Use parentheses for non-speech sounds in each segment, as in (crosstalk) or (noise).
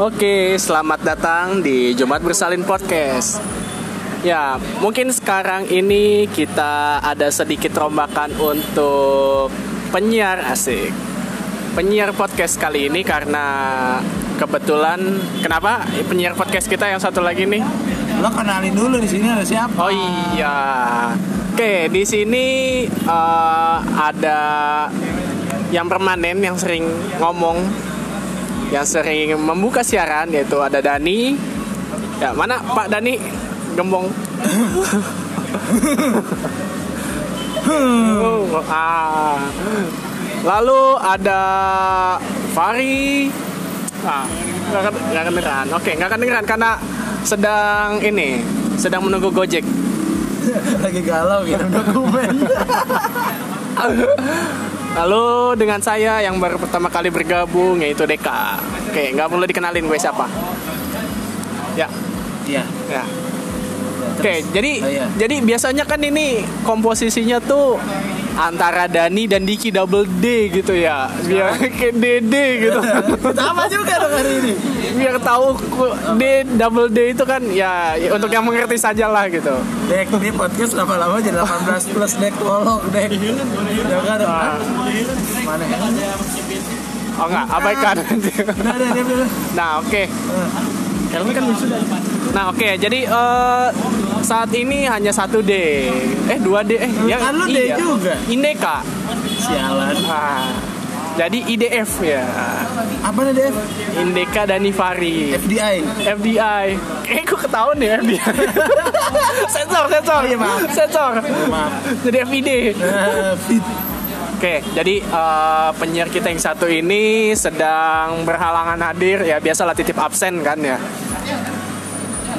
Oke, selamat datang di Jumat Bersalin Podcast. Ya, mungkin sekarang ini kita ada sedikit rombakan untuk penyiar asik. Penyiar podcast kali ini karena kebetulan kenapa penyiar podcast kita yang satu lagi nih? Lo kenalin dulu di sini ada siapa? Oh iya. Oke, di sini eh, ada yang permanen yang sering ngomong, yang sering membuka siaran yaitu ada Dani. Ya, mana Pak Dani? Gembong. Oh, ah. Lalu ada Fari. Ah, nggak ken- nggak kedengeran. Oke, nggak kedengeran karena sedang ini, sedang menunggu Gojek. (laughs) Lagi galau gitu dokumen. Lalu dengan saya yang baru pertama kali bergabung yaitu Deka. Oke, nggak perlu dikenalin gue siapa. Ya, Iya. ya. Oke, jadi Oh, iya. jadi biasanya kan ini komposisinya tuh antara Dani dan Diki double D gitu ya. Biar kayak Dede gitu. (laughs) Sama juga dong hari ini. Biar tahu ku- D double D itu kan ya, ya untuk yang mengerti sajalah gitu. Dek, ini podcast lama-lama jadi 18 plus dek tolong dek. Jangan dong. ah. Mana ya? Oh enggak, Ah. abaikan. Udah, udah, udah, udah. nah, oke. Eh, Helm kan sudah. Nah oke jadi eh, saat ini hanya satu D eh dua D eh Kan lu D juga. Indeka Sialan. nah, jadi IDF ya Apa nih Dev? Indeka dan Nivari FDI. FDI eh kok ketahuan ya FDI (laughs) sensor sensor iya, maaf. Iya, sensor Maaf. (laughs) jadi FID Eh, fit. Oke, jadi eh, penyiar kita yang satu ini sedang berhalangan hadir ya biasalah titip absen kan ya. Dia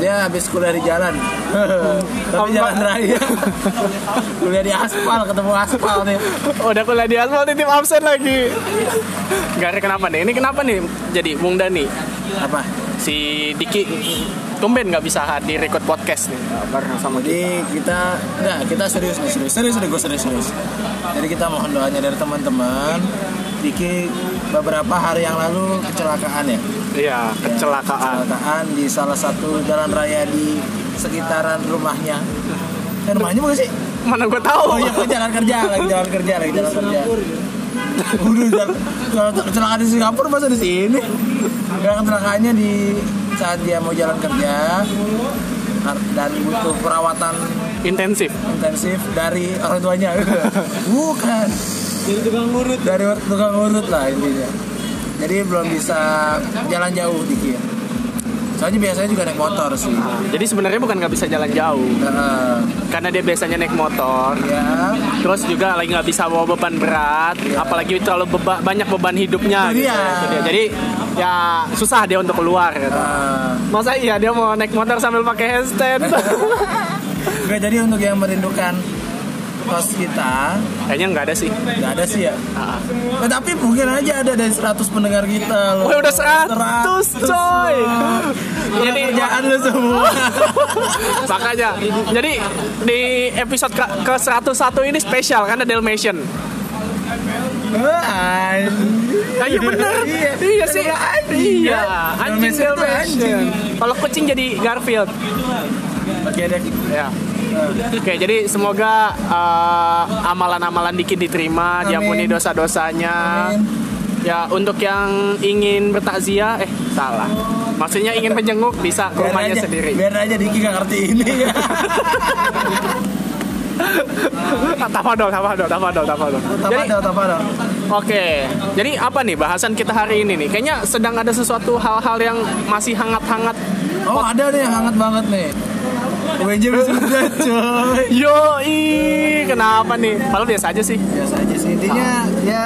Ya, habis kuliah di (laughs) jalan. Tapi jalan raya. kuliah di aspal, ketemu aspal nih. (laughs) Udah kuliah di asmal titip absen lagi. Gak ada kenapa nih? Ini kenapa nih? Jadi Bung Dani, Apa? si Diki tumben nggak bisa hadir record podcast nih bareng sama kita. Jadi kita enggak, kita serius nih, serius. Serius deh, gue serius, serius. Jadi kita mohon doanya dari teman-teman. Diki beberapa hari yang lalu kecelakaan ya. Iya, kecelakaan. Kecelakaan di salah satu jalan raya di sekitaran rumahnya. Eh, rumahnya bukan sih? Mana gue tahu? Oh iya, gua jalan kerja, lagi jalan kerja, lagi jalan kerja. Udah jalan, jalan- kecelakaan di Singapura masa di sini. Karena kecelakaannya di saat dia mau jalan kerja dan butuh perawatan Intensif. intensif dari orang tuanya (laughs) bukan dari tukang urut dari tukang urut lah intinya jadi belum bisa jalan jauh dikit soalnya biasanya juga naik motor sih Jadi sebenarnya bukan nggak bisa jalan jauh, Nah, karena dia biasanya naik motor. ya Terus juga lagi nggak bisa bawa beban berat, apalagi terlalu beba- banyak beban hidupnya. Itu dia. Itu dia. Iya. Jadi ya susah dia untuk keluar. Gitu. eh, Masa iya dia mau naik motor sambil pakai (laughs) handstand? nggak, jadi untuk yang merindukan kos kita Kayaknya nggak ada sih. nggak ada sih ya Eh, tapi mungkin aja ada dari 100 pendengar kita loh Wah, udah 100, coy. jadi Jadi kerjaan lu semua (laughs) makanya. Jadi di episode ke, ke 101 ini spesial karena Dalmatian. Anjing. Nah, iya bener. Iya. iya sih. Iya, anjing. Iya, anjing Dalmatian tuh Dalmatian. anjing. Kalau kucing jadi Garfield. Oke deh. Ya. Oke, jadi semoga eh, amalan-amalan dikit diterima, Amin. diampuni dosa-dosanya. Amin. Ya, untuk yang ingin bertakziah, eh salah. Maksudnya ingin menjenguk bisa ke Biar rumahnya aja, sendiri. Biar aja Diki gak ngerti (laughs) ini. Tafadol, tafadol, tafadol, tafadol. Tapa Jadi, dong, tapa dong. Oke, jadi apa nih bahasan kita hari ini nih? Kayaknya sedang ada sesuatu hal-hal yang masih hangat-hangat. Oh ada nih yang hangat banget nih. (laughs) UNJ sudah coy. Yoi, kenapa nih? Padahal biasa aja sih. Biasa aja sih. Intinya ya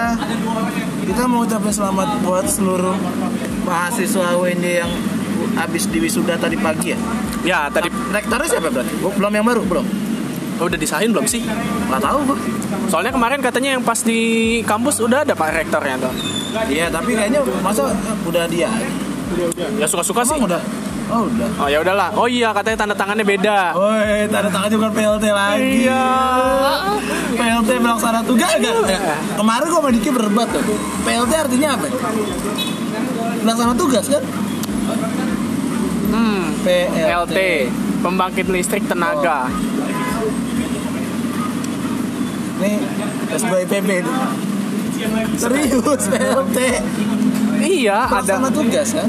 kita mau ucapin selamat buat seluruh mahasiswa UNJ yang habis diwisuda tadi pagi ya. Ya, tadi Rektornya siapa berarti? Bu- Belum yang baru belum? udah disahin belum sih? Gak tahu gua. Soalnya kemarin katanya yang pas di kampus udah ada Pak Rektornya tuh. Iya tapi kayaknya masa udah dia. Ya suka-suka sih. Emang udah. Oh udah. Oh ya udahlah. Oh iya, katanya tanda tangannya beda. Woi, tanda tangan juga PLT lagi. Iya. PLT melaksanakan tugas enggak? enggak. Kemarin gua sama Diki berdebat tuh. PLT artinya apa? Melaksanakan tugas kan? Hmm, PLT. LT, pembangkit listrik tenaga. Ini S2 IPB nih. Serius PLT Iya, Pelaksana ada. tugas kan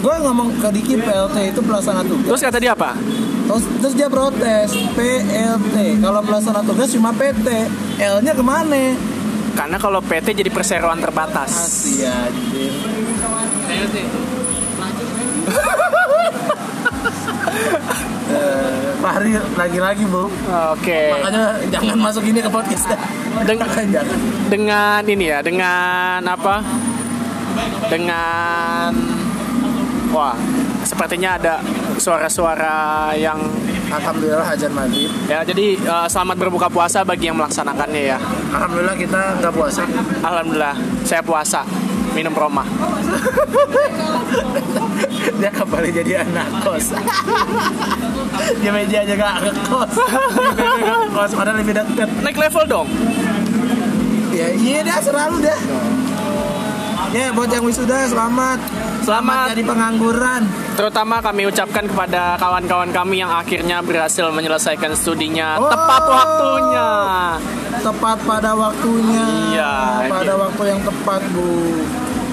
Gue ngomong ke Diki PLT itu pelaksana tugas Terus kata dia apa? Terus, terus dia protes PLT Kalau pelaksana tugas cuma PT L nya kemana? Karena kalau PT jadi perseroan terbatas. Asli anjir Eh, Fahri lagi-lagi bu Oke. Makanya jangan masuk ini ke podcast Deng- Jangan dengan ini ya dengan apa dengan wah sepertinya ada suara-suara yang Alhamdulillah azan maghrib ya jadi eh, selamat berbuka puasa bagi yang melaksanakannya ya Alhamdulillah kita nggak puasa alhamdulillah saya puasa minum roma Dia kembali jadi anak kos Dia meja aja nggak ke kos Dia kos padahal lebih deket naik level dong Ya iya dah selalu dah Ya buat yang wisuda selamat selamat Jadi pengangguran terutama kami ucapkan kepada kawan-kawan kami yang akhirnya berhasil menyelesaikan studinya Oh. tepat waktunya Tepat pada waktunya Iya, Pada iya. waktu yang tepat bu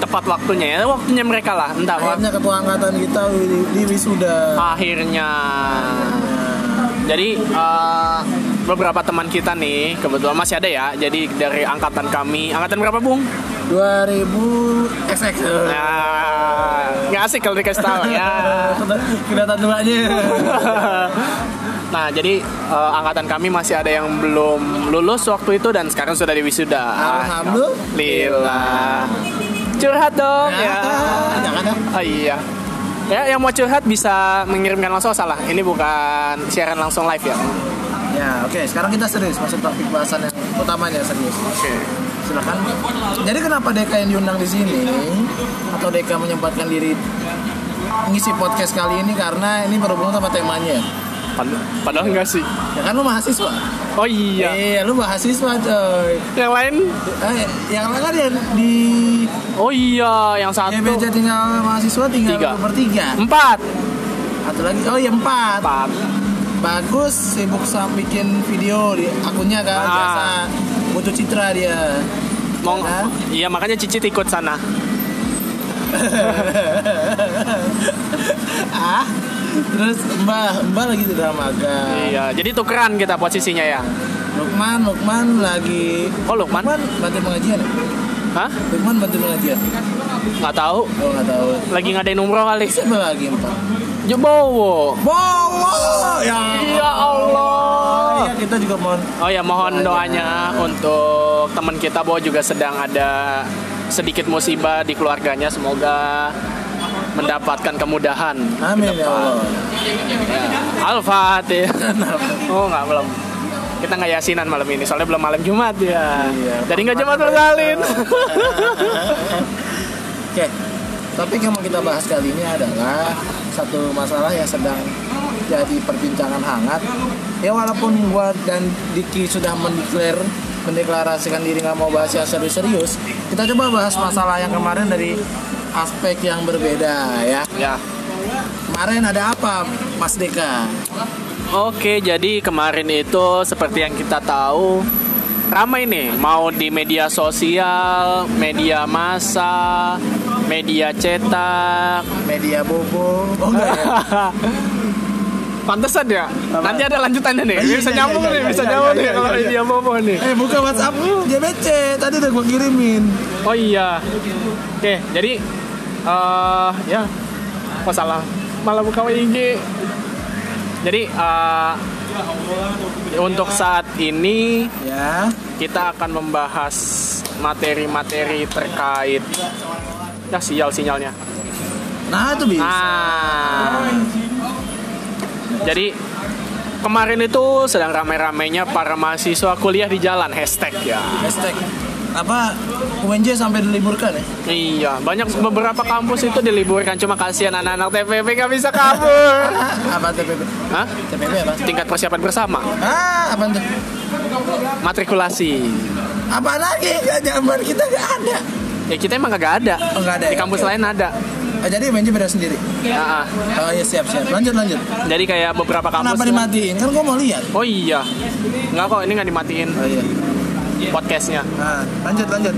tepat waktunya ya waktunya mereka lah entah Akhirnya ketua angkatan kita di- di wisuda akhirnya. Jadi eh, beberapa teman kita nih kebetulan masih ada ya. Jadi dari angkatan kami, angkatan berapa bung? 2000 XX Nah, nggak asik kalau dikasih tahu ya. Oh, iya. (laughs) Kelihatan tuanya Nah, jadi eh, angkatan kami masih ada yang belum lulus waktu itu dan sekarang sudah di wisuda. Alhamdulillah. Curhat dong ya. Jangan dah. Oh iya. Ya, yang mau curhat bisa mengirimkan langsung Oh, salah. Ini bukan siaran langsung live ya. Ya, oke. Sekarang kita serius masuk topik bahasan yang utamanya serius. Oke. Silakan. Jadi kenapa DK yang diundang di sini atau DK menyempatkan diri ngisi podcast kali ini karena ini berhubungan sama temanya. Padahal enggak sih. Ya kan lu mahasiswa. Oh iya. Iya, lu mahasiswa coy. Yang lain? Eh, yang lain kan ya di Oh iya, yang satu. DBJ tinggal mahasiswa tinggal Tiga. lu bertiga. Empat. Atau lagi oh ya empat. Empat. Bagus sibuk sama bikin video di akunnya kan Ah. biasa butuh citra (laughs) dia. Mau Hah? Iya, Nah. makanya Cicit ikut sana. ah terus mbak mbak lagi di dermaga Iya, jadi tukeran kita posisinya ya. Lukman Lukman lagi Oh, Lukman? Lukman bantu pengajian ya? Hah? Lukman bantu pengajian Nggak tahu. oh nggak tahu Lagi ngadain umroh kali. (laughs) siapa lagi empat Jebowo. wow ya Ya Oh, Allah. iya, kita juga mohon Oh ya, mohon doanya untuk teman kita Bo juga sedang ada sedikit musibah di keluarganya. Semoga mendapatkan kemudahan. amin ya Allah Al-Fatih. (laughs) Kenapa? Oh nggak belum. Kita nggak yasinan malam ini, soalnya belum malam Jumat ya. Iya. Jadi nggak Jumat (laughs) bersalin. Oke, topik yang mau kita bahas kali ini adalah satu masalah yang sedang jadi perbincangan hangat. Ya walaupun gua dan Diki sudah mendeklar mendeklarasikan diri nggak mau bahas yang serius-serius, kita coba bahas masalah yang kemarin dari aspek yang berbeda ya. ya. Kemarin ada apa, Mas Deka? Oke, jadi kemarin itu seperti yang kita tahu ramai nih, mau di media sosial, media massa, media cetak. Media bobo? Oh enggak ya? (laughs) Pantesan ya. Nanti ada lanjutannya nih. Iya, bisa iya, nyambung iya, nih, iya, bisa iya, nyambung iya, nih iya, kalau iya, iya. media bobo nih. Eh buka WhatsApp JBC, tadi udah gua kirimin. Oh iya. Oke, jadi eh ya oh salah. Malah buka IG. Jadi eh untuk saat ini Ya. kita akan membahas materi-materi terkait ya sial sinyalnya. Nah itu bisa. Ah. Jadi kemarin itu sedang ramai-ramainya para mahasiswa kuliah di jalan hashtag ya. Hashtag apa UNJ sampai diliburkan ya? Iya, banyak beberapa kampus itu diliburkan cuma kasihan anak-anak TPP gak bisa kabur. apa TPP? Hah? TPP apa? Tingkat persiapan bersama, Ah, apa tuh? matrikulasi. Apa lagi? Gak zaman kita gak ada. Ya kita emang gak ada. Oh, nggak ada Di ya? kampus Oke. lain ada. Ah, jadi benci beda sendiri. Ah, ah. Oh iya siap siap. Lanjut lanjut. Jadi kayak beberapa kampus. Kenapa dimatiin? Kan gua mau lihat. Oh iya. Enggak kok ini nggak dimatiin Oh iya. podcastnya. Nah, lanjut lanjut.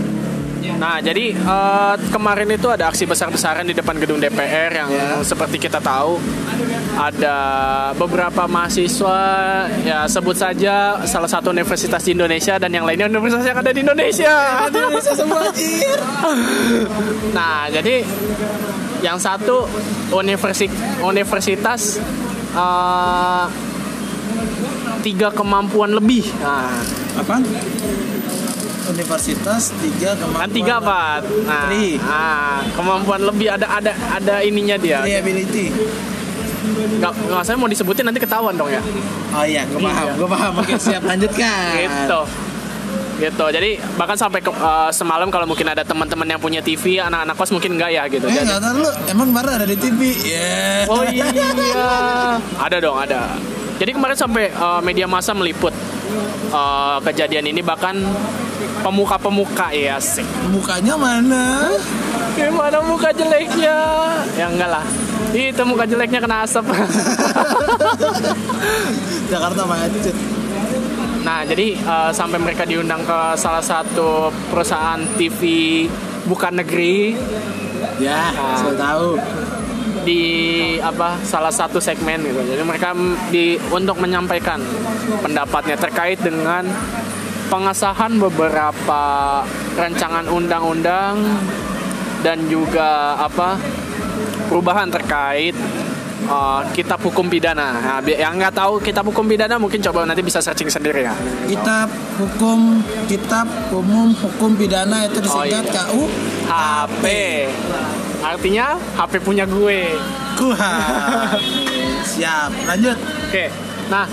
Nah, jadi eh, kemarin itu ada aksi besar-besaran di depan gedung DPR yang Ya. seperti kita tahu ada beberapa mahasiswa ya sebut saja salah satu universitas di Indonesia dan yang lainnya universitas yang ada di Indonesia. Bisa (laughs) semua anjir. Nah, jadi yang satu universi universitas eh, tiga kemampuan lebih. Nah, Apa? Universitas tiga kemampuan. kan tiga apa? Nah, Three. ah, kemampuan lebih ada ada ada ininya dia. Iya. Reliability. Nggak, nggak saya mau disebutin nanti ketahuan dong ya. Oh iya, gua paham, Iya. gua paham. Oke, siap lanjutkan. Gitu. Gitu. Jadi bahkan sampai ke, eh, semalam kalau mungkin ada teman-teman yang punya TV, anak-anak kos mungkin nggak ya gitu. Eh, Jadi- nggak tahu lu. Emang kemarin ada di TV. Yeah. Oh iya, ada dong ada. Jadi kemarin sampai eh, media massa meliput eh, kejadian ini bahkan pemuka-pemuka ya sih. Mukanya mana? Gimana muka jeleknya? Ya enggak lah. Itu muka jeleknya kena (laughs) asap. Jakarta macet. nah jadi eh, sampai mereka diundang ke salah satu perusahaan TV bukan negeri Ya, Ah. saya tahu. di apa salah satu segmen gitu. Jadi mereka m- di untuk menyampaikan pendapatnya terkait dengan pengesahan beberapa rancangan undang-undang dan juga apa perubahan terkait uh, kitab hukum pidana. Nah, bi- yang nggak tahu kitab hukum pidana mungkin coba nanti bisa searching sendiri ya. Kitab hukum, kitab umum hukum pidana itu disingkat iya. KU HP artinya HP punya gue. (laughs) KUHA. Siap, lanjut. Oke, nah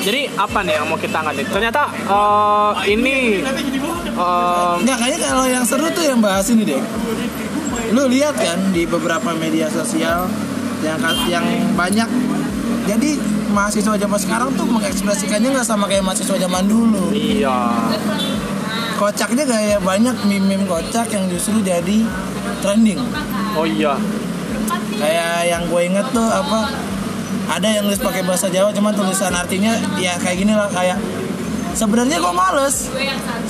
jadi apa nih yang mau kita angkat nih? Ternyata eh, ini eh, Nggak kayaknya kalau yang seru tuh yang bahas ini deh. Lu lihat kan di beberapa media sosial yang yang banyak. Jadi mahasiswa zaman sekarang tuh mengekspresikannya nggak sama kayak mahasiswa zaman dulu. iya Kocaknya kayak banyak meme-meme kocak yang justru jadi trending. oh iya Kayak yang gue inget tuh apa ada yang nulis pakai bahasa Jawa cuman tulisan artinya ya kayak gini lah kayak sebenarnya gue males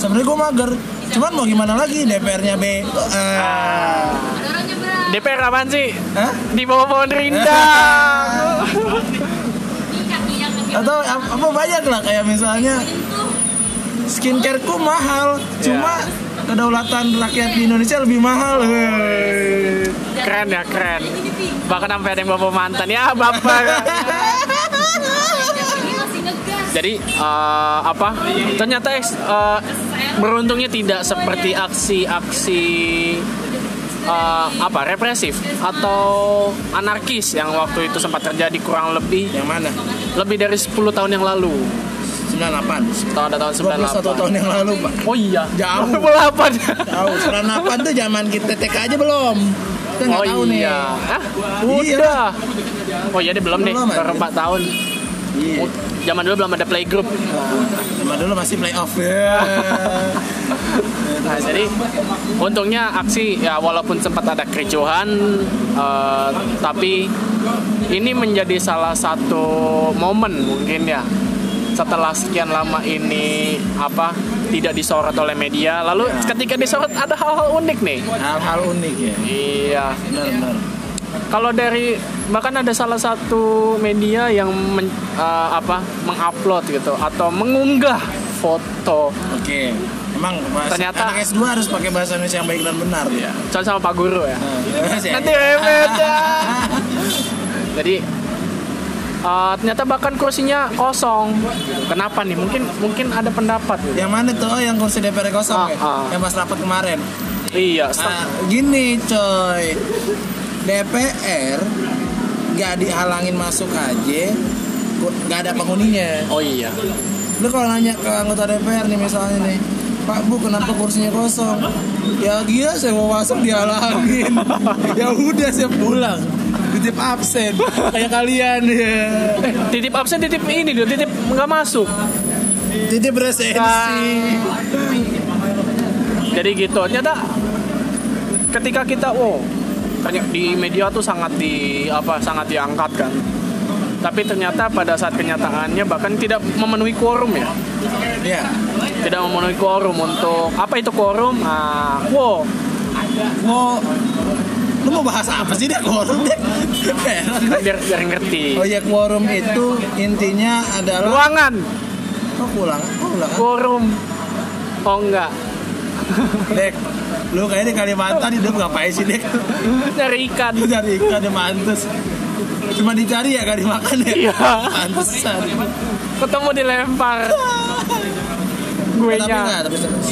sebenarnya gue mager cuman mau gimana lagi DPR-nya B Eh, DPR apaan sih? Hah? Di bawah pohon rindang atau ap- apa banyak lah kayak misalnya skincareku mahal cuma Iya. kedaulatan rakyat di Indonesia lebih mahal Oh. (laughs) Hei. Keren ya, keren Bahkan sampai ada yang bawa mantan Ya bapak Jadi eh, apa? Ternyata eh, beruntungnya tidak seperti aksi-aksi eh, apa represif atau anarkis yang waktu itu sempat terjadi kurang lebih yang mana lebih dari 10 tahun yang lalu 98 tahun ada tahun 21 98 tahun yang lalu pak oh iya Jauh. 98 tahu 98 tuh zaman kita TK aja belum kita nggak tahu oh iya Hah? Iya. udah oh iya dia belum nih Belum, baru anjir. 4 tahun nih iya. Oh, zaman dulu belum ada playgroup Zaman dulu masih playoff ya Nah, jadi untungnya aksi ya walaupun sempat ada kericuhan eh, tapi ini menjadi salah satu momen mungkin ya setelah sekian lama ini apa tidak disorot oleh media lalu ketika disorot ada hal-hal unik nih hal-hal unik ya iya benar-benar kalau dari bahkan ada salah satu media yang men- eh, apa mengupload gitu atau mengunggah foto oke emang bahasa, Ternyata- anak S2 harus pakai bahasa Indonesia yang baik dan benar Iya kan, ya contoh sama pak guru ya Nanti Nanti ribet ya. Jadi eh, ternyata bahkan kursinya kosong. Kenapa nih? Mungkin mungkin ada pendapat. gitu. (laughs) Yang mana tuh? Oh, yang kursi DPR kosong Ah, ya? ah. Yang pas rapat kemarin. Iya. stop. Ah, gini coy. DPR gak dihalangin masuk aja ku- gak ada penghuninya Oh iya. lu kalau nanya ke anggota DPR nih misalnya nih Pak Bu kenapa kursinya kosong ya dia saya mau masuk dihalangin ya udah saya pulang titip absen kayak kalian ya Eh, titip absen, titip ini dia titip nggak masuk. Kan. titip resensi Jadi gitu. Ternyata ketika kita wow terny- di media tuh sangat di apa sangat diangkat kan tapi ternyata pada saat kenyataannya bahkan tidak memenuhi quorum ya Iya. tidak memenuhi quorum untuk apa itu quorum ah wow Mau lu mau bahas apa sih deh quorum deh? Heran gue. biar biar ngerti Oh ya quorum itu intinya adalah ruangan oh pulang, oh pulang. quorum oh enggak Dek, lu kayaknya di Kalimantan hidup ngapain sih dek? nyari ikan Lu cari ikan di mantus. Cuma dicari ya gak dimakan ya? Iya. Mantesan. ketemu dilempar gue Tapi nggak, nya tapi serius.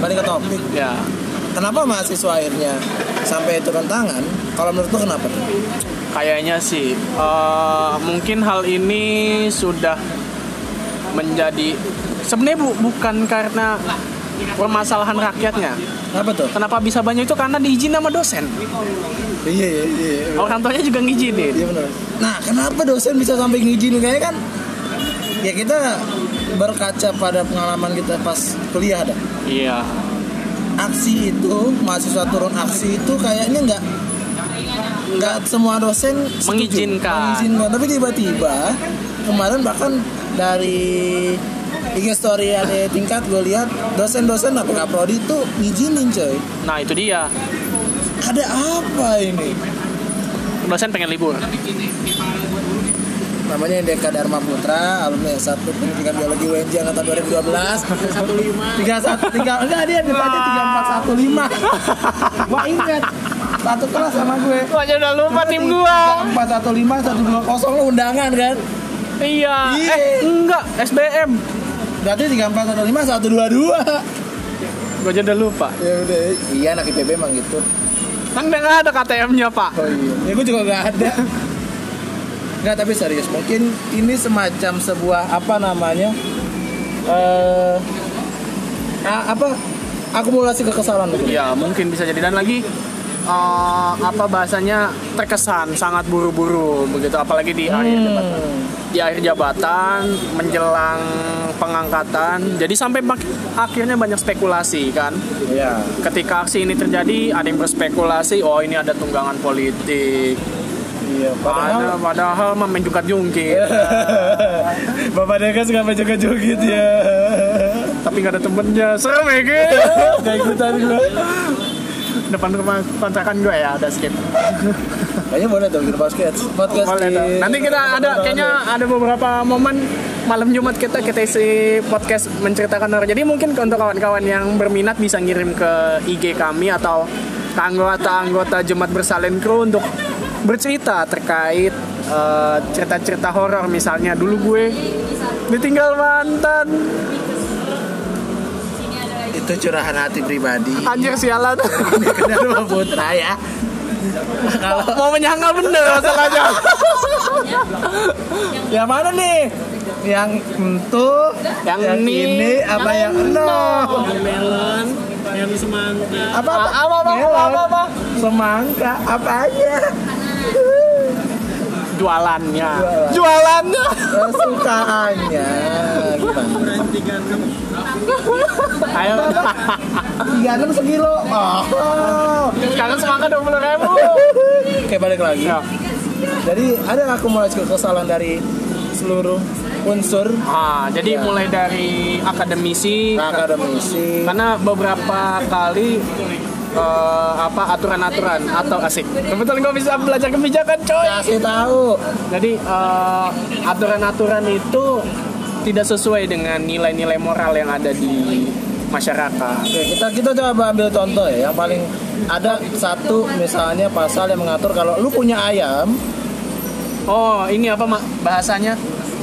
Balik ke topik. ya Kenapa mahasiswa akhirnya sampai turun tangan? Kalau menurut lu kenapa? kayaknya sih eh, mungkin hal ini sudah menjadi sebenarnya bu- bukan karena permasalahan rakyatnya Kenapa tuh? kenapa bisa banyak itu karena diizin sama dosen Iya, iya, iya. orang tuanya juga ngizinin Iya benar. Nah, kenapa dosen bisa sampai ngizinin kayaknya kan? Ya kita berkaca pada pengalaman kita pas kuliah dah. iya Aksi itu mahasiswa turun aksi itu kayaknya nggak nggak semua dosen setuju. Mengizinkan. Mengizinkan. Tapi tiba-tiba kemarin bahkan dari IG story ada tingkat gue lihat dosen-dosen apa nggak prodi itu ngizinin coy. nah itu dia Ada apa ini? dosen pengen libur namanya Deka Dharma Putra alumni S1 Pendidikan Biologi UNJ angkatan 2012 31 3 enggak dia depannya 3415 gua ingat satu kelas sama gue aja udah lupa tim gua 3415 120 lo undangan kan iya Iya. eh enggak SBM berarti 3415 122 gua aja udah lupa ya udah iya anak IPB emang gitu kan udah nggak ada KTM-nya pak Oh iya. Ya gue juga nggak ada. Nggak tapi serius. Mungkin ini semacam sebuah apa namanya? eh a- apa? Akumulasi kekesalan mungkin. Ya mungkin bisa jadi dan lagi eh, apa bahasanya terkesan sangat buru-buru begitu apalagi di akhir Hmm. jabatan. di akhir jabatan menjelang pengangkatan jadi sampai mak- akhirnya banyak spekulasi kan Iya. ketika aksi ini terjadi ada yang berspekulasi oh ini ada tunggangan politik Iya. ada padahal mah main jungkit (laughs) Bapak Deka suka main joget-joget ya. tapi nggak ada temennya serem ya Ki. Gak ikutan gue. depan rumah kontrakan gue ya ada skip Kayaknya boleh dong kita podcast. Podcast Boleh di- dong. Nanti kita ada kayaknya ada beberapa momen malam Jumat kita kita isi podcast menceritakan horor. Jadi mungkin untuk kawan-kawan yang berminat bisa ngirim ke IG kami atau ke anggota-anggota Jumat Bersalin Crew untuk bercerita terkait eh, cerita-cerita horor misalnya dulu gue ditinggal mantan itu curahan hati pribadi. (laughs) anjir sialan (laughs) Deka Dharma Putra ya. Kalau mau menyangkal bener masalahnya Yang mana nih? Yang itu, Yang ini, ini, apa yang enam? melon Apa apa? Ah, Apa, apa, apa, Melon, apa, apa? Semangka, apa aja? jualannya jualannya Kesukaannya gimana? ayo Tiga enam sekilo. Oh. (laughs) sekarang semangka dua puluh ribu Oke balik lagi. ya. Jadi ada akumulasi kesalahan dari seluruh unsur ah jadi Ya. mulai dari akademisi akademisi. karena beberapa kali eh, apa aturan-aturan atau asik kebetulan gue bisa belajar kebijakan coy Kasih tahu. jadi eh, aturan-aturan itu tidak sesuai dengan nilai-nilai moral yang ada di masyarakat Oke, kita kita coba ambil contoh ya yang paling ada satu misalnya pasal yang mengatur kalau lu punya ayam oh ini apa Mak? bahasanya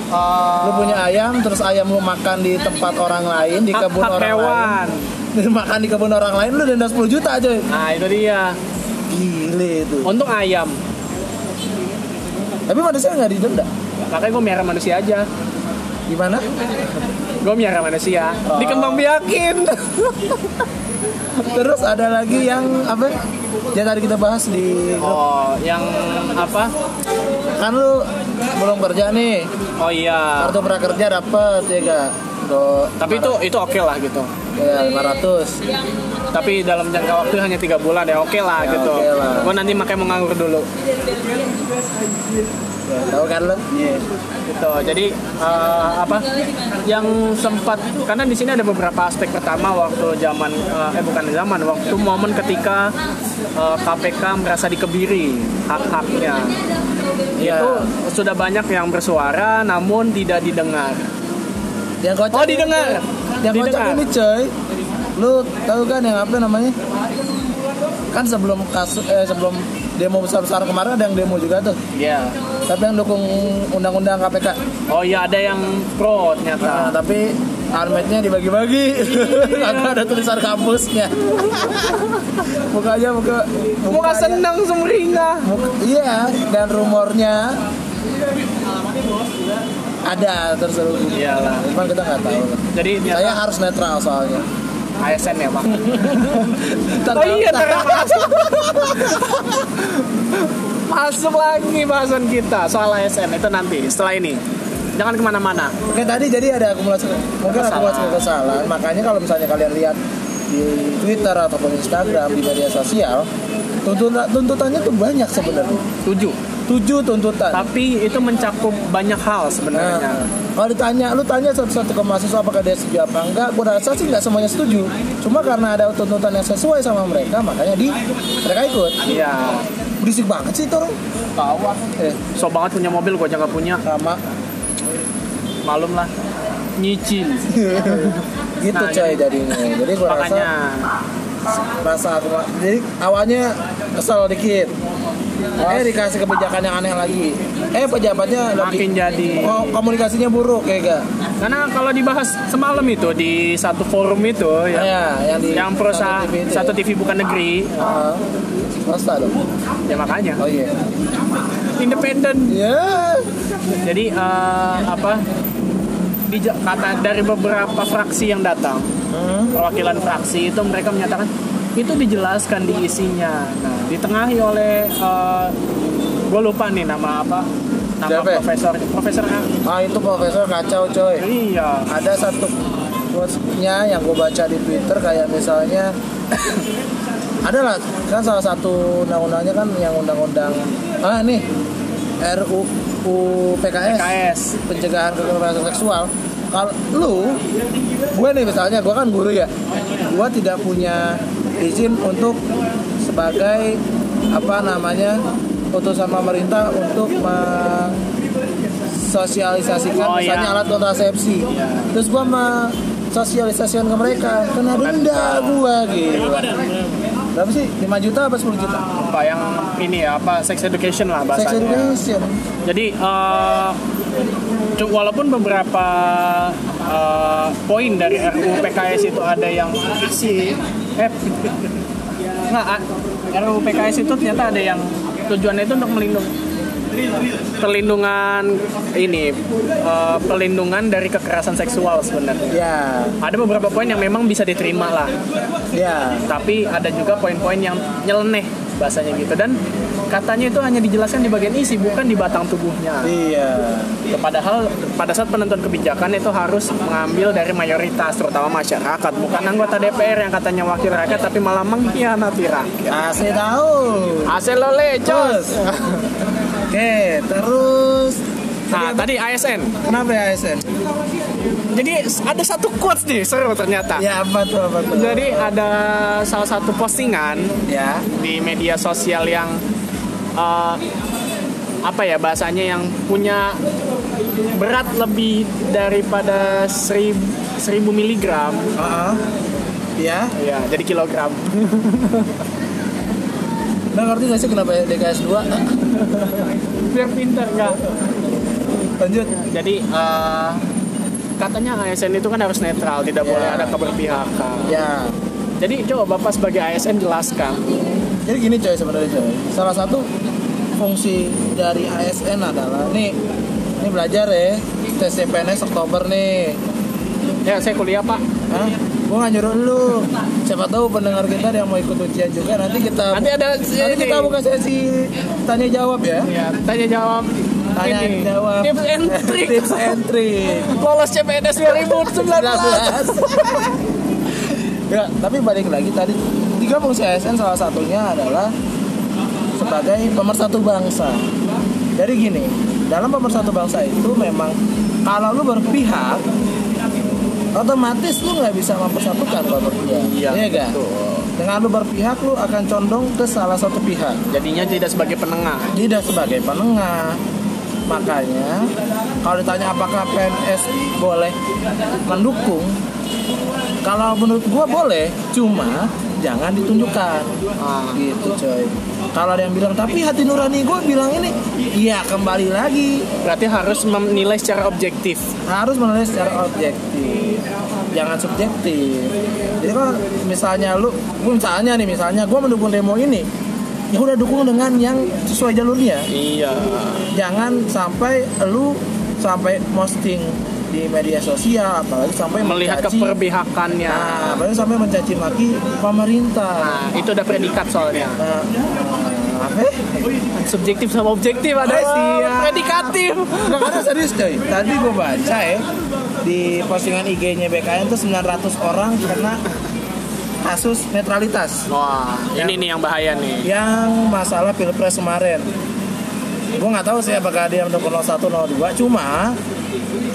Eh, lu punya ayam terus ayam lu makan di tempat orang lain di hak, kebun hak orang lain hewan lu makan (laughs) di kebun orang lain lu denda 10 juta aja nah itu dia gile itu Untung ayam, tapi manusia nggak didenda makanya gue miara manusia aja. gimana Gue miara manusia. Oh. Dikembang biakin. terus ada lagi yang apa ya tadi kita bahas di (laughs) Oh, yang apa? kan lu belum kerja nih Oh iya. kartu prakerja dapet ya gak Lo- Tapi itu itu oke lah gitu. ya 500 Tapi dalam jangka waktu hanya tiga bulan ya, oke lah Ya, gitu. oke lah. Gua nanti makanya mau nganggur dulu. Ya, tahu kan lo gitu jadi eh, apa yang sempat karena di sini ada beberapa aspek pertama waktu zaman eh eh, bukan zaman waktu momen ketika eh, KPK merasa dikebiri hak-haknya Ya. itu sudah banyak yang bersuara namun tidak didengar yang kocak oh didengar yang kocak didengar ini coy lu tahu kan yang apa namanya kan sebelum kasus eh, sebelum demo besar-besar kemarin ada yang demo juga tuh ya tapi yang dukung undang-undang KPK oh iya ada yang pro nah, ternyata tapi almetnya dibagi-bagi Iya. (laughs) karena ada tulisan kampusnya mukanya muka muka senang sumringah Muk- Iya, dan rumornya ada terselubung. iyalah Cuman kita nggak tahu. jadi Saya ternyata harus netral soalnya. ASN ya pak Ntar- Oh iya, ntar- ternyata masuk. masuk lagi bahasan kita soal ASN itu nanti setelah ini. Jangan kemana-mana. Oke tadi jadi ada akumulasi mungkin Kesalahan. akumulasi kesalahan. Makanya kalau misalnya kalian lihat di Twitter ataupun Instagram di media sosial tuntutan tuntutannya tuh banyak sebenarnya Tujuh. tujuh tuntutan. Tapi itu mencakup banyak hal Nah, sebenarnya. kalau ditanya, lu tanya satu-satu ke mahasiswa apakah dia setuju apa enggak, gue rasa sih nggak semuanya setuju. Cuma karena ada tuntutan yang sesuai sama mereka, makanya di mereka ikut. Iya. Berisik banget sih itu orang. Tawa. Eh, So banget punya mobil, gua aja nggak punya. sama. Malum lah. Nyicil. gitu Nah, coy jadinya. Jadi gue rasa, Makanya. rasa aku, jadi awalnya kesel dikit. Eh dikasih kebijakan yang aneh lagi. Eh Makin pejabatnya lebih jadi. ko- komunikasinya buruk kayak gak? Karena kalau dibahas semalam itu di satu forum itu ya, Ya, yang di yang perusahaan satu TV itu satu ya. TV bukan negeri, Ah, swasta dong. ya makanya Oh iya. independen Ya. Jadi eh, apa di kata dari beberapa fraksi yang datang, Hmm. perwakilan fraksi itu mereka menyatakan itu dijelaskan di isinya. Nah, ditengahi oleh gue lupa nih nama apa nama Siapa ya? profesor profesor A- Ah itu profesor kacau coy. iya Ada satu quotes-nya yang gue baca di Twitter kayak misalnya (coughs) adalah kan salah satu undang-undangnya kan yang undang-undang ah nih RUU PKS, KS pencegahan kekerasan seksual. Kalau lu gue nih misalnya gue kan guru ya. Gue tidak punya izin untuk sebagai apa namanya putusan pemerintah untuk me- sosialisasikan Oh, misalnya iya. alat kontrasepsi Iya. terus gua me- sosialisasikan ke mereka kena denda gua gitu berapa sih 5 juta apa 10 juta apa yang ini ya apa sex education lah sex bahasanya. education Jadi eh, cu- walaupun beberapa eh, poin dari RUU PKS itu ada yang isi eh (laughs) nggak a- RUU PKS itu ternyata ada yang tujuannya itu untuk melindungi perlindungan ini eh, pelindungan dari kekerasan seksual sebenarnya. ya Ada beberapa poin yang memang bisa diterima lah ya tapi ada juga poin-poin yang nyeleneh bahasanya gitu dan katanya itu hanya dijelaskan di bagian isi bukan di batang tubuhnya iya padahal pada saat penentuan kebijakan itu harus mengambil dari mayoritas terutama masyarakat bukan anggota DPR yang katanya wakil rakyat tapi malah mengkhianati rakyat kasih tahu Asel lo lecos. terus oke terus Nah tadi ASN kenapa ya ASN Jadi ada satu quotes nih seru ternyata ya apa tuh apa tuh Jadi ada salah satu postingan ya di media sosial yang eh, apa ya bahasanya yang punya berat lebih daripada 1000 seribu miligram Heeh. ya ya jadi kilogram lo ngerti gak sih kenapa DKS 2 biar pintar nggak (clears throat) lanjut jadi eh, katanya ASN itu kan harus netral tidak Ya. boleh ada keberpihakan ya jadi coba bapak sebagai ASN jelaskan Jadi gini coy sebenarnya coy. Salah satu fungsi dari ASN adalah nih ini belajar ya. Tes CPNS Oktober nih. ya saya kuliah pak Hah? Gua nggak nyuruh lu. Siapa tahu pendengar kita ada yang mau ikut ujian juga nanti kita nanti ada nanti ini. kita buka sesi tanya jawab ya. ya, tanya jawab Tanya ini. jawab. tips and trick Tips and trick. lolos CPNS 2019 Jelas. ya tapi balik lagi tadi tiga fungsi ASN salah satunya adalah sebagai pemersatu bangsa jadi gini dalam pemersatu bangsa itu memang kalau lu berpihak otomatis lu nggak bisa mempersatukan kalau berpihak Iya, nggak? dengan lu berpihak lu akan condong ke salah satu pihak Jadinya tidak sebagai penengah. tidak sebagai penengah makanya kalau ditanya apakah PNS boleh mendukung kalau menurut gua boleh cuma jangan ditunjukkan Ah. gitu coy kalau ada yang bilang tapi hati nurani gua bilang ini iya kembali lagi Berarti harus menilai secara objektif. harus menilai secara objektif jangan subjektif jadi kalau misalnya lu gua misalnya nih misalnya gua mendukung demo ini ya udah dukung dengan yang sesuai jalurnya Iya. jangan sampai lu sampai posting di media sosial apalagi sampai Melihat mencaci- keperbihakannya. nah apalagi sampai mencaci maki pemerintah Nah, itu udah predikat soalnya. nah, nah, apa ya? Subjektif sama objektif ada Oh, sih. iya. (laughs) Predikatif. Nah, karena serius coy tadi gue baca ya di postingan IG-nya BKN tuh 900 orang karena kasus netralitas Wah, ini nih yang bahaya nih. yang masalah pilpres kemarin gue nggak tahu sih apakah dia mendukung 01 02 cuma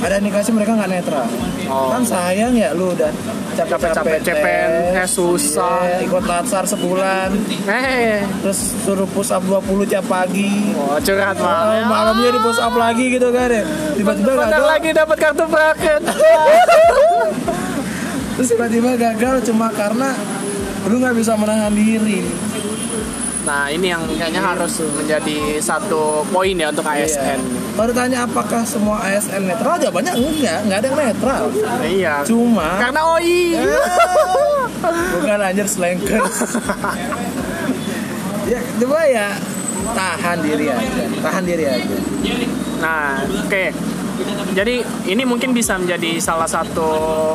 ada indikasi mereka nggak netral Oh. kan sayang ya lu udah Capek-capek cepen, eh, susah. iya, ikut latsar sebulan Eh, terus suruh push up 20 tiap pagi wah curhat Oh, malah. malamnya di push up lagi gitu kan ya tiba-tiba Bentar gagal lagi dapat kartu prakerja. terus tiba-tiba gagal cuma karena lu nggak bisa menahan diri (laughs) nah, ini yang kayaknya harus menjadi satu poin ya untuk ASN. Iya. Kalau ditanya apakah semua ASN netral, jawabannya enggak, enggak ada yang netral. Iya. Cuma Karena OI. bukan anjir (laughs) slankers. ya, coba ya tahan diri aja, tahan diri aja. Nah, oke. Jadi ini mungkin bisa menjadi salah satu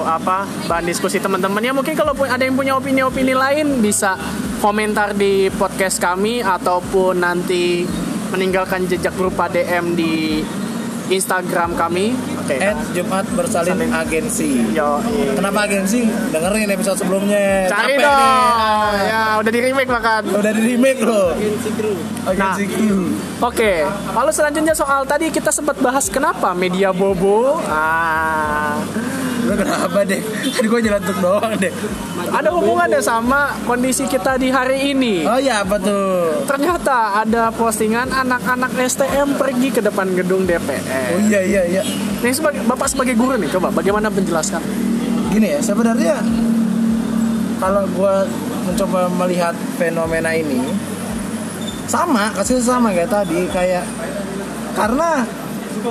apa bahan diskusi teman-temannya. Mungkin kalau pu- ada yang punya opini-opini lain bisa komentar di podcast kami ataupun nanti meninggalkan jejak berupa DM di Instagram kami. Oke. At Jumat bersalin Salin. agensi. Yo. iya. Kenapa agensi? Dengerin episode sebelumnya. Cari Capek dong. nih. Ya, udah di remake makan. Udah di remake loh. Agensi Nah. crew. Oke, lalu selanjutnya soal tadi kita sempat bahas kenapa media bobo. Ah, Lu kenapa deh? Tadi gua jalan tuk doang deh. ada hubungannya sama kondisi kita di hari ini. Oh iya apa tuh? Ternyata ada postingan anak-anak STM pergi ke depan gedung Oh DPR. iya iya iya. Nih sebagai bapak sebagai guru nih, coba bagaimana menjelaskan? gini ya sebenarnya kalau gua mencoba melihat fenomena ini sama kasih sama kayak tadi kayak karena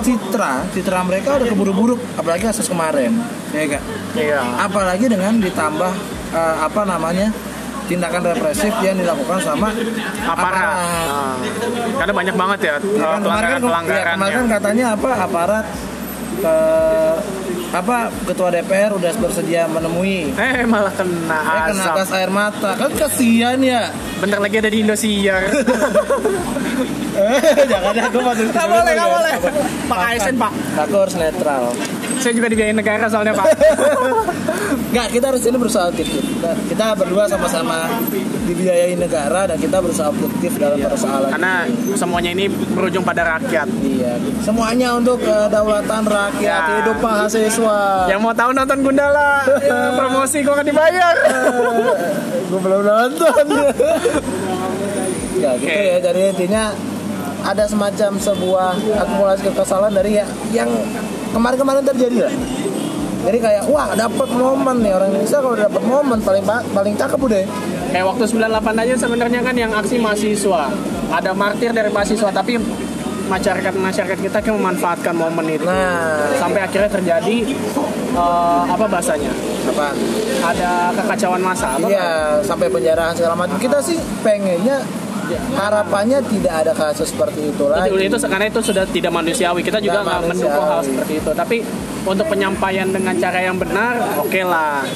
citra citra mereka udah keburu buruk apalagi kasus kemarin ya enggak? Iya. apalagi dengan ditambah eh, apa namanya tindakan represif yang dilakukan sama Aparat. Ah. Karena banyak banget ya Ya kan, kemarin kan- ya, kemarin kan pelanggaran-pelanggarannya. katanya apa aparat eh, apa ketua DPR udah bersedia menemui Eh malah kena Saya Iya, kena azab. gas air mata. Kan kasihan ya. Bentar lagi ada di (laughs) Indosiar. Jangan ya, gue masuk Gak boleh, gak boleh. Pak ASN, Pak. Aku harus netral. Saya juga dibiayain negara soalnya, (laughs) Pak. Enggak, kita harus ini berusaha objektif. Kita, kita berdua sama-sama dibiayai negara dan kita berusaha objektif dalam persoalan. Karena semuanya ini berujung pada rakyat. Iya. Semuanya untuk kedaulatan rakyat, Ya. hidup mahasiswa. (laughs) Yang mau tahu nonton Gundala, Ya, Iya. promosi kok nggak dibayar. gue belum (laughs) nonton. ya gitu Oke. ya. Jadi intinya ada semacam sebuah akumulasi kekesalan dari ya, yang kemarin-kemarin terjadi lah. Jadi kayak wah dapat momen nih orang Indonesia kalau dapat momen paling ba- paling cakep udah. Kayak waktu 98 aja sebenarnya kan yang aksi mahasiswa. Ada martir dari mahasiswa, tapi masyarakat-masyarakat kita kan memanfaatkan momen itu. Nah. Sampai akhirnya terjadi eh, apa bahasanya? Apa? Ada kekacauan massa. apa? Iya sampai penjarahan segala macam. Kita sih pengennya harapannya tidak ada kasus seperti itu lagi. Betul, itu karena itu sudah tidak manusiawi. Kita juga Tidak nggak mendukung hal manusiawi. seperti itu. Tapi untuk penyampaian dengan cara yang benar, oke lah.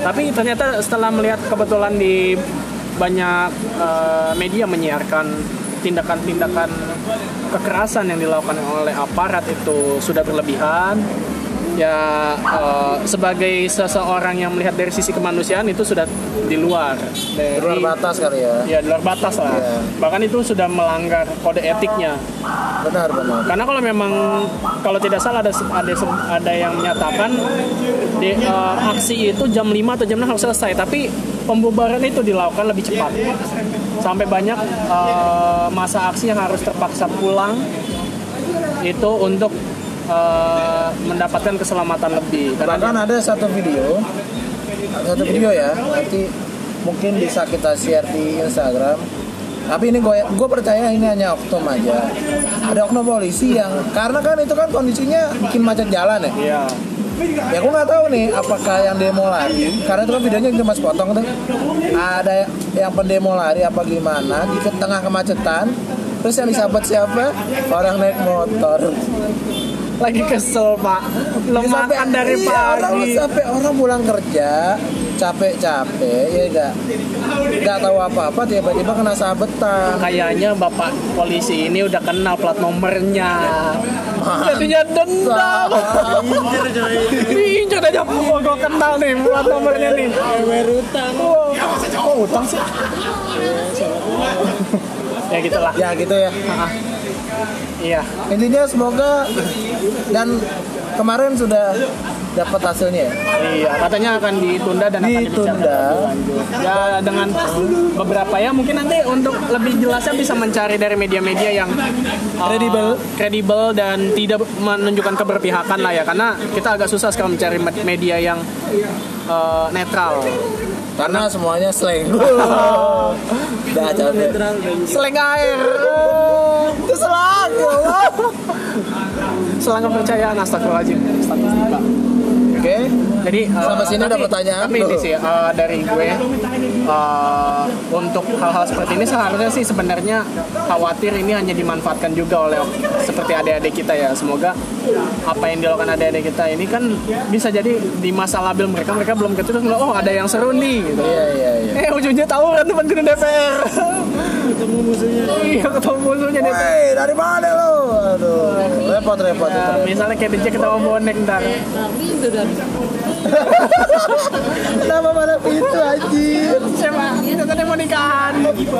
Tapi ternyata setelah melihat kebetulan di banyak eh, media menyiarkan tindakan-tindakan kekerasan yang dilakukan oleh aparat itu sudah berlebihan. ya eh, sebagai seseorang yang melihat dari sisi kemanusiaan itu sudah di luar dari luar batas kali ya ya di luar batas lah Iya. bahkan itu sudah melanggar kode etiknya benar benar karena kalau memang kalau tidak salah ada ada ada yang menyatakan di, eh, aksi itu jam 5 atau jam 6 harus selesai tapi pembubaran itu dilakukan lebih cepat sampai banyak eh, masa aksi yang harus terpaksa pulang itu untuk eh, mendapatkan keselamatan lebih karena bahkan ada satu video satu video ya nanti mungkin bisa kita share di Instagram tapi ini gue gue percaya ini hanya oknum aja ada oknum polisi yang karena kan itu kan kondisinya bikin macet jalan ya Iya. ya gue nggak tahu nih apakah yang demo lari karena itu kan videonya cuma sepotong tuh ada yang pendemo lari apa gimana di ke- tengah kemacetan terus yang disabet siapa orang naik motor lagi kesel pak lo Jadi sampai- makan dari iya, orang, pagi sampai orang pulang kerja capek-capek ya enggak nggak tahu apa-apa tiba-tiba kena sabetan kayaknya bapak polisi ini udah kenal plat nomornya jadinya dendam diinjak aja oh gue kenal nih plat nomornya nih oh utang sih ya gitulah ya gitu ya iya intinya semoga dan kemarin sudah dapat hasilnya ya iya katanya akan ditunda dan akan dibicarakan Ditunda. lebih lanjut. ya dengan beberapa ya mungkin nanti untuk lebih jelasnya bisa mencari dari media-media yang uh, Kredibel. kredibel dan tidak menunjukkan keberpihakan lah ya karena kita agak susah sekarang mencari med- media yang uh, netral karena semuanya slang (laughs) udah capek Seleng air. itu selang ya Allah. Selang kepercayaan astagfirullahaladzim. Statistika. oke Jadi eh, Sampai sini ada tapi- pertanyaan Tapi ini tuh. sih eh, dari gue eh, untuk hal-hal seperti ini seharusnya sih sebenarnya khawatir ini hanya dimanfaatkan juga oleh seperti adik-adik kita ya. Semoga apa yang dilakukan adik-adik kita ini kan bisa jadi di masa labil mereka mereka belum kecil terus ngeliat, oh ada yang seru nih gitu. iya iya iya Eh ujungnya tawuran depan gedung DPR. Ketemu musuhnya. Iya ketemu musuhnya DPR. Woi, dari mana lo? Aduh, repot repot. Ya, repot. misalnya kayak DJ ketemu bonek ntar Itu dan Kenapa pada pintu anjir? siapa kita tadi mau nikahan gitu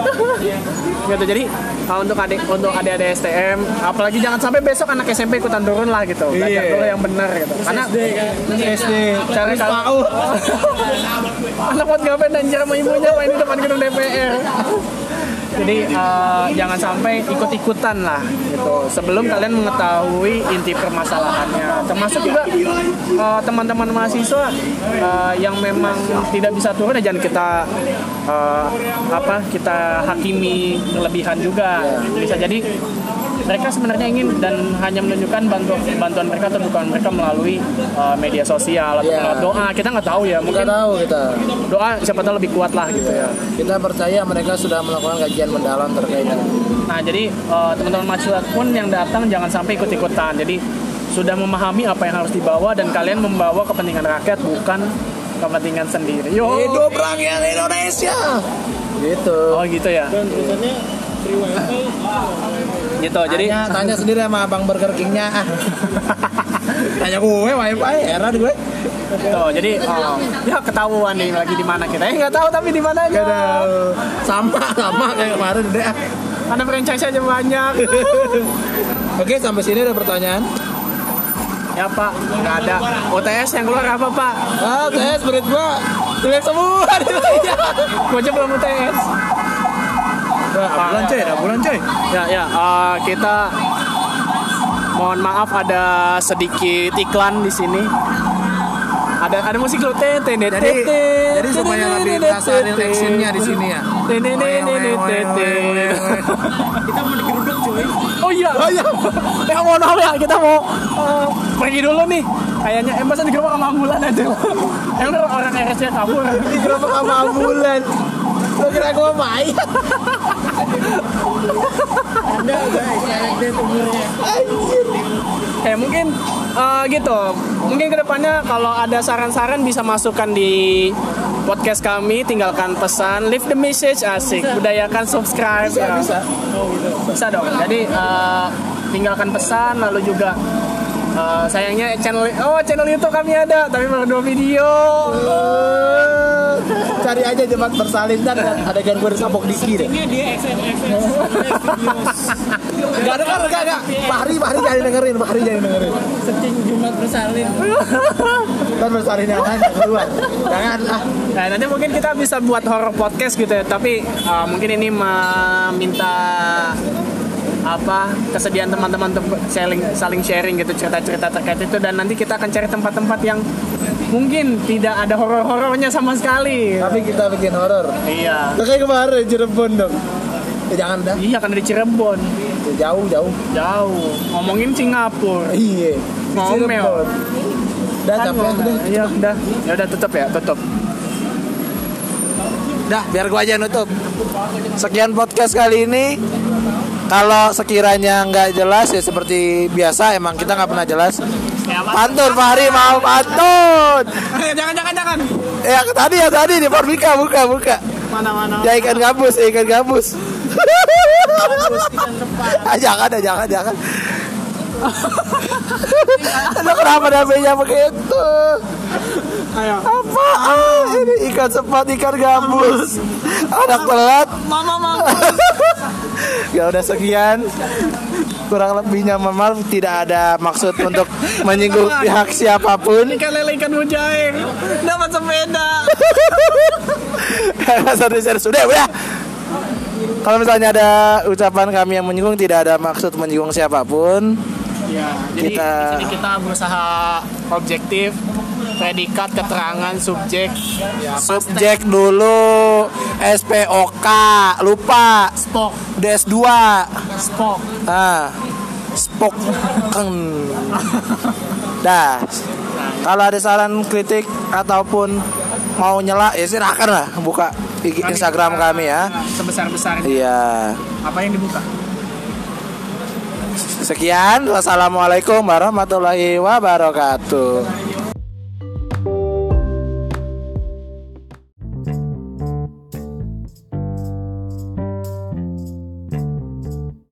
jadi kalau untuk adik untuk adik adik STM apalagi jangan sampai besok anak SMP ikutan turun lah gitu belajar Iya. dulu yang benar gitu karena SD. cara kalau anak buat ngapain anjir sama ibunya main di depan gedung DPR jadi eh, jangan sampai ikut-ikutan lah gitu sebelum kalian mengetahui inti permasalahannya termasuk juga eh, teman-teman mahasiswa eh, yang memang tidak bisa turun ya jangan kita eh, apa kita hakimi kelebihan juga bisa jadi mereka sebenarnya ingin dan hanya menunjukkan bantuan bantuan mereka atau dukungan mereka melalui eh, media sosial atau Iya. melalui doa kita nggak tahu ya Kita mungkin tahu kita. doa siapa tahu lebih kuat lah gitu ya. Kita percaya mereka sudah melakukan kajian mendalam terkait dengan Nah jadi eh, teman-teman mahasiswa pun yang datang jangan sampai ikut-ikutan. Jadi sudah memahami apa yang harus dibawa dan kalian membawa kepentingan rakyat bukan kepentingan sendiri. Yo. hidup rakyat Indonesia. Gitu. Oh gitu ya. Gitu jadi Tanya, (laughs) tanya sendiri sama abang Burger Kingnya ah. tanya gue wifi era gue. tuh, jadi oh, ya ketahuan nih lagi di mana kita. Eh nggak tahu tapi di mana aja. Aduh, sama sama kayak kemarin udah. Karena franchise aja (laughs) banyak. Oke sampai sini ada pertanyaan. ya Pak, nggak ada. OTS yang keluar apa Pak? Ah, saya spirit gua jelek semua. (laughs) Gua aja belum UTS. Ambulan coy, ambulan coy. Ya, ya, eh, kita mohon maaf ada sedikit iklan di sini. Ada ada musik lo tete tete Jadi jadi supaya lebih terasa real actionnya di sini ya. Tete tete tete. Oh iya. Oh iya. Ya mohon maaf ya kita mau eh, pergi dulu nih. Kayaknya eh masa digerobak sama ambulan aja. Yang orang RS-nya kabur. Kenapa sama ambulan? Lo kira gua main? Anda guys, Anjir. Eh mungkin eh, gitu. Mungkin kedepannya kalau ada saran-saran bisa masukkan di podcast kami. Tinggalkan pesan, leave the message asik. Budayakan subscribe. Bisa, ya. bisa. Bisa dong. Jadi eh, tinggalkan pesan lalu juga Eh, sayangnya channel oh channel YouTube kami ada tapi baru dua video. Eh. Cari aja jemaat bersalin dan ada gangguan sabok dikit. Ini dia XM XM Studios. Gak dengar gak gak. Bahri Bahri jadi dengerin, Bahri jadi dengerin. Seting Jumat bersalin. Oh. (laughs) Dan bersalin yang lain yang kedua. Jangan ah. Nah, nanti mungkin kita bisa buat horror podcast gitu ya, tapi uh, mungkin ini meminta apa kesediaan teman-teman tem- saling saling sharing gitu cerita-cerita terkait itu dan nanti kita akan cari tempat-tempat yang mungkin tidak ada horor-horornya sama sekali. Tapi kita bikin horor. Iya. Kayak kemarin Cirebon dong. Ya, jangan dah. Iya karena di Cirebon Ya, Jauh jauh. jauh. Ngomongin Singapura. Iya. Ngomel. Cirebon. Dah Kan capek ngomel. udah. Iya udah. Ya udah tutup ya tutup. Dah, biar gua aja yang nutup. Sekian podcast kali ini. Kalau sekiranya nggak jelas ya seperti biasa emang kita nggak pernah jelas. Ya, Pantun Fahri mau pantun. eh, jangan jangan jangan. Ya tadi ya tadi di Formika buka buka. Mana mana. Ya ikan gabus, ya, ikan gabus. Ah, jangan, ah, jangan, jangan. Lo kenapa namanya begitu? Ayo. Apa? Ah, ini ikan sepat, ikan gabus. Anak telat. Mama mama. ya udah sekian. Kurang lebihnya mohon maaf tidak ada maksud untuk menyinggung pihak siapapun. Ikan lele ikan kan mujair. Dapat sepeda. Karena satu share sudah udah. Kalau misalnya ada ucapan kami yang menyinggung tidak ada maksud menyinggung siapapun. Ya, jadi Kita- di sini kita berusaha objektif, predikat, keterangan, subjek, ya, Subjek dulu SPOK lupa spok, DS2 spok. ah spok keng dah kalau ada saran kritik ataupun mau nyela ya silahkan lah buka IG Instagram kami ya Sebesar besarnya. iya Nah, Apa yang dibuka? sekian wassalamualaikum warahmatullahi wabarakatuh